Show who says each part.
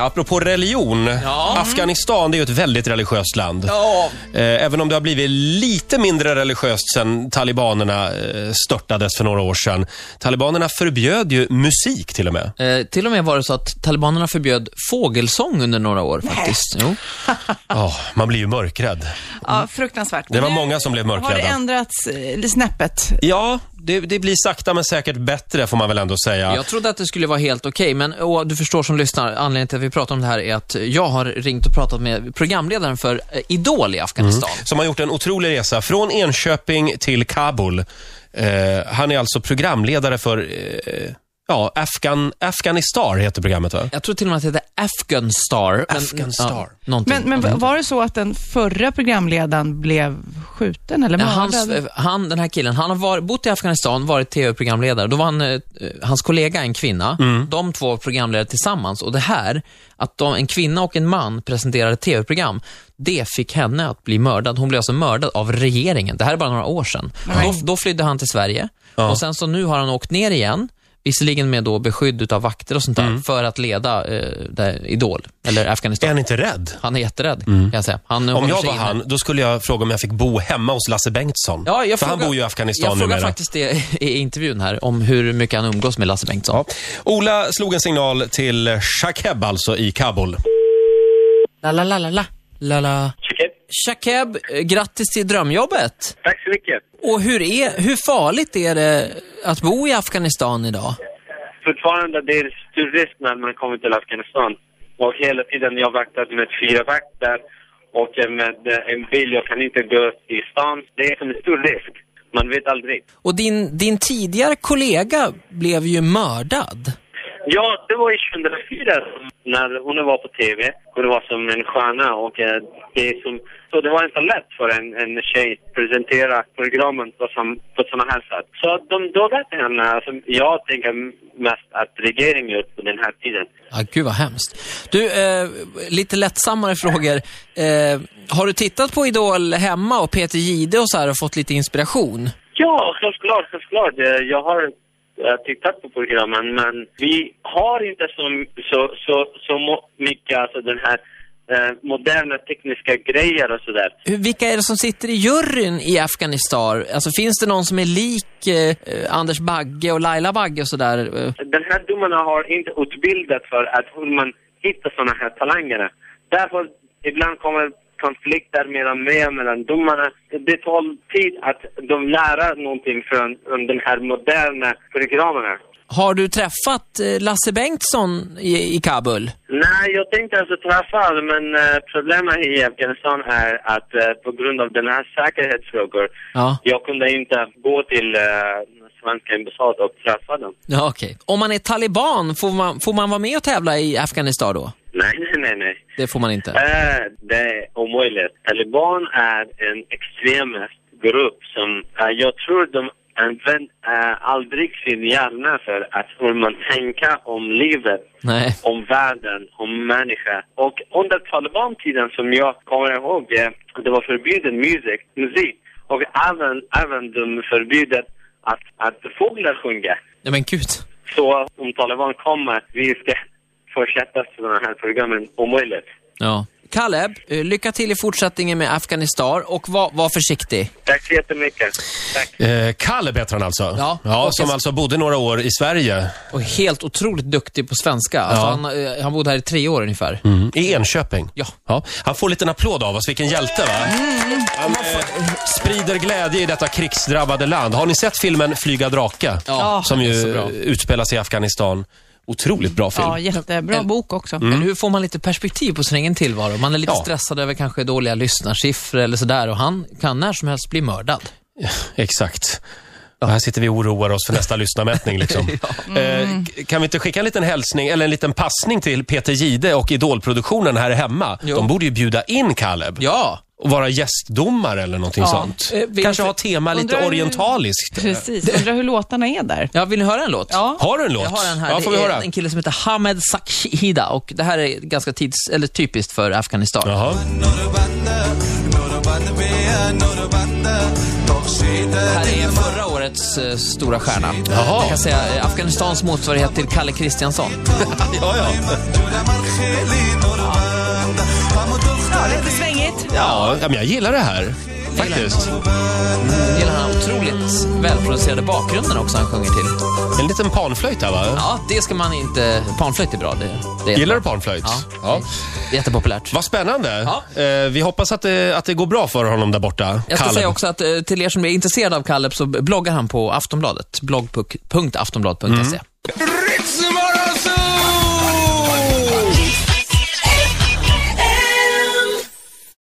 Speaker 1: Apropå religion. Afghanistan det är ju ett väldigt religiöst land.
Speaker 2: Ja,
Speaker 1: Eh, Även om det har blivit lite mindre religiöst sen talibanerna eh, störtades för några år sedan. Talibanerna förbjöd ju musik till och med.
Speaker 2: eh, till och med var det så att talibanerna förbjöd fågelsång under några år faktiskt. Jo.
Speaker 1: Ja, man blir ju mörkrädd.
Speaker 3: Ja, fruktansvärt.
Speaker 1: Det var
Speaker 3: Nu
Speaker 1: många som blev
Speaker 3: Har det
Speaker 1: mörkrädda.
Speaker 3: ändrats eh, snäppet?
Speaker 1: Ja, det, det blir sakta men säkert bättre får man väl ändå säga.
Speaker 2: Jag trodde att det skulle vara helt okej, men och, du förstår som lyssnar, anledningen till att vi pratar om det här är att jag har ringt och pratat med programledaren för eh, Idol i Afghanistan.
Speaker 1: Som har gjort en otrolig resa från Enköping till Kabul. Eh, han är alltså programledare för eh, ja, Afghan, Afghanistar heter programmet va?
Speaker 2: Jag tror till och med att det heter Afghan Star. men-
Speaker 1: Afghan Star.
Speaker 2: Ja, någonting.
Speaker 3: Men, men var det så att den förra programledaren blev skjuten eller
Speaker 2: Ja,
Speaker 3: mördad?
Speaker 2: Hans, eh, han, den här killen, han har var, bott i Afghanistan, varit tv-programledare. Då var han, eh, hans kollega en kvinna.
Speaker 1: Mm.
Speaker 2: De två var programledare tillsammans. Och det här, att de, en kvinna och en man presenterade tv-program, det fick henne att bli mördad. Hon blev alltså mördad av regeringen. Det här är bara några år sedan. Då, då flydde han till Sverige. Och sen så nu har han åkt ner igen. Visserligen med då beskydd utav vakter och sånt
Speaker 1: Mm.
Speaker 2: där, för att leda eh, där, Idol, eller
Speaker 1: Är
Speaker 2: Afghanistan.
Speaker 1: han inte rädd?
Speaker 2: Han är jätterädd, kan jag säga. Han eh,
Speaker 1: Mm. Om
Speaker 2: håller
Speaker 1: jag
Speaker 2: sig
Speaker 1: var
Speaker 2: inne.
Speaker 1: han, då skulle jag fråga om jag fick bo hemma hos Lasse Bengtsson.
Speaker 2: Ja, jag
Speaker 1: För
Speaker 2: frågar,
Speaker 1: han bor ju i Afghanistan
Speaker 2: Jag frågar
Speaker 1: numera.
Speaker 2: faktiskt det i intervjun här, om hur mycket han umgås med Lasse Bengtsson.
Speaker 1: Ja. Ola slog en signal till Shakeb alltså i Kabul.
Speaker 2: La, la, la, la, la. La, la.
Speaker 4: Shakeb.
Speaker 2: Shakeb, eh, grattis till drömjobbet.
Speaker 4: Tack så mycket.
Speaker 2: Och hur, är, hur farligt är det att bo i Afghanistan idag?
Speaker 4: Fortfarande det är stor risk när man kommer till Afghanistan. Och hela tiden jag vaktat med fyra vakter och med eh, en bil. Jag kan inte gå i stan. Det är en stor risk. Man vet aldrig.
Speaker 2: Och din, din tidigare kollega blev ju mördad.
Speaker 4: Ja, det var i 2004 som- när hon var på TV. Hon var som en stjärna och eh, det som... Så det var inte lätt för en, en tjej att presentera programmen på, som, på sådana här sätt. Så de dödade henne. Alltså, jag tänker mest att regeringen gjorde på den här tiden.
Speaker 2: Ah, gud vad hemskt. Du, eh, lite lättsammare frågor. Eh, har du tittat på Idol hemma och Peter Gide och så här och fått lite inspiration?
Speaker 4: Ja, självklart, självklart. Eh, Jag har eh, tittat på programmen, men vi har inte så, så, så, så må- mycket alltså den här eh, moderna tekniska grejer och sådär.
Speaker 2: Hur- Vilka är det som sitter i juryn i Afghanistan? Alltså finns det någon som är lik eh, Anders Bagge och Laila Bagge och sådär? Eh,
Speaker 4: Den här domarna har inte utbildat för att hur man hittar sådana här talanger. Därför ibland kommer konflikter mellan mig och mellan domarna. Det tar tid att de lär någonting från från de här moderna programmen.
Speaker 2: Har du träffat eh, Lasse Bengtsson i, i Kabul?
Speaker 4: Nej, jag tänkte alltså träffa men eh, problemet i Afghanistan är att eh, på grund av den här säkerhetsfrågor,
Speaker 2: Ja.
Speaker 4: jag kunde inte gå till eh, svenska ambassad och träffa dem.
Speaker 2: Ja, okej. Om man är taliban, får man, får man vara med och tävla i Afghanistan då?
Speaker 4: Nej, nej, nej, nej.
Speaker 2: Det får man inte.
Speaker 4: Eh, det är omöjligt. Taliban är en extremist grupp som eh, jag tror de använder eh, aldrig sin hjärna för att hur man tänker om livet
Speaker 2: Nej.
Speaker 4: om världen, om människa. Och under talibantiden som jag kommer ihåg, eh, det var förbjuden musik, musik. Och även, även de förbjudet att, att fåglar sjunger.
Speaker 2: Nej men gud.
Speaker 4: Så om taliban kommer, vi ska fortsätta sådana här programmen omöjligt.
Speaker 2: Ja. Kaleb, eh, lycka till i fortsättningen med Afghanistan och var, var försiktig.
Speaker 4: Tack så jättemycket. Tack.
Speaker 1: Eh, Kalle heter han alltså.
Speaker 2: Ja. Och
Speaker 1: som
Speaker 2: jag-
Speaker 1: alltså bodde några år i Sverige,
Speaker 2: Och helt otroligt duktig på svenska. Alltså,
Speaker 1: Ja.
Speaker 2: han, eh, han bodde här i tre år ungefär.
Speaker 1: mm. i Enköping.
Speaker 2: Ja.
Speaker 1: Han får en liten applåd av oss, vilken hjälte va?
Speaker 2: Mm.
Speaker 1: Han eh, sprider glädje i detta krigsdrabbade land. Har ni sett filmen Flyga drake?
Speaker 2: Ja,
Speaker 1: som
Speaker 2: det är så
Speaker 1: ju
Speaker 2: bra.
Speaker 1: utspelas i Afghanistan. Otroligt bra film.
Speaker 3: Ja, jättebra
Speaker 2: En-
Speaker 3: bok också.
Speaker 2: Eller hur får man lite perspektiv på sin egen tillvaro? Man är lite
Speaker 1: Mm. Ja.
Speaker 2: stressad över kanske dåliga lyssnarsiffror eller sådär och han kan när som helst bli mördad.
Speaker 1: Exakt. Och här sitter vi och oroar oss för nästa lyssnarmätning. Liksom. eh, k- kan vi inte skicka en liten hälsning eller en liten passning till Peter Gide och Idolproduktionen här hemma?
Speaker 2: Jo.
Speaker 1: De borde ju bjuda in Caleb
Speaker 2: Ja.
Speaker 1: och vara gästdomare eller någonting
Speaker 3: Ja.
Speaker 1: sånt.
Speaker 2: Eh, vet
Speaker 1: Kanske
Speaker 2: du-
Speaker 1: ha tema lite
Speaker 3: Undrar hur-
Speaker 1: orientaliskt.
Speaker 3: Precis. Undrar hur låtarna är där.
Speaker 2: Ja, vill ni höra en låt?
Speaker 3: Ja.
Speaker 1: Har du en låt?
Speaker 2: Jag har en här.
Speaker 1: Ja, får vi
Speaker 2: det är
Speaker 1: höra?
Speaker 2: en kille som heter Hamed Sakhida och det här är ganska tids, eller typiskt för Afghanistan.
Speaker 1: Jaha.
Speaker 5: Nor banda, nor banda be, nor banda, nor
Speaker 2: Här är förra årets eh, stora stjärna.
Speaker 1: Jaha.
Speaker 2: Jag kan säga eh, Afghanistans motsvarighet till Kalle Kristiansson.
Speaker 1: Ja, ja.
Speaker 3: Ja, lite svängigt.
Speaker 1: Ja, ja, men jag gillar det här. Faktiskt.
Speaker 2: Gillar den här otroligt välproducerade bakgrunden också han sjunger till.
Speaker 1: En liten panflöjt här, va?
Speaker 2: Ja, det ska man inte... Panflöjt är bra. Det, det är
Speaker 1: Gillar du panflöjt?
Speaker 2: Ja. jättepopulärt.
Speaker 1: Vad spännande.
Speaker 2: Ja.
Speaker 1: Eh, vi hoppas att det, att det går bra för honom där borta.
Speaker 2: Jag ska
Speaker 1: Kaleb.
Speaker 2: säga också att eh, till er som är intresserade av Kaleb så bloggar han på Aftonbladet. blogg.aftonbladet.se.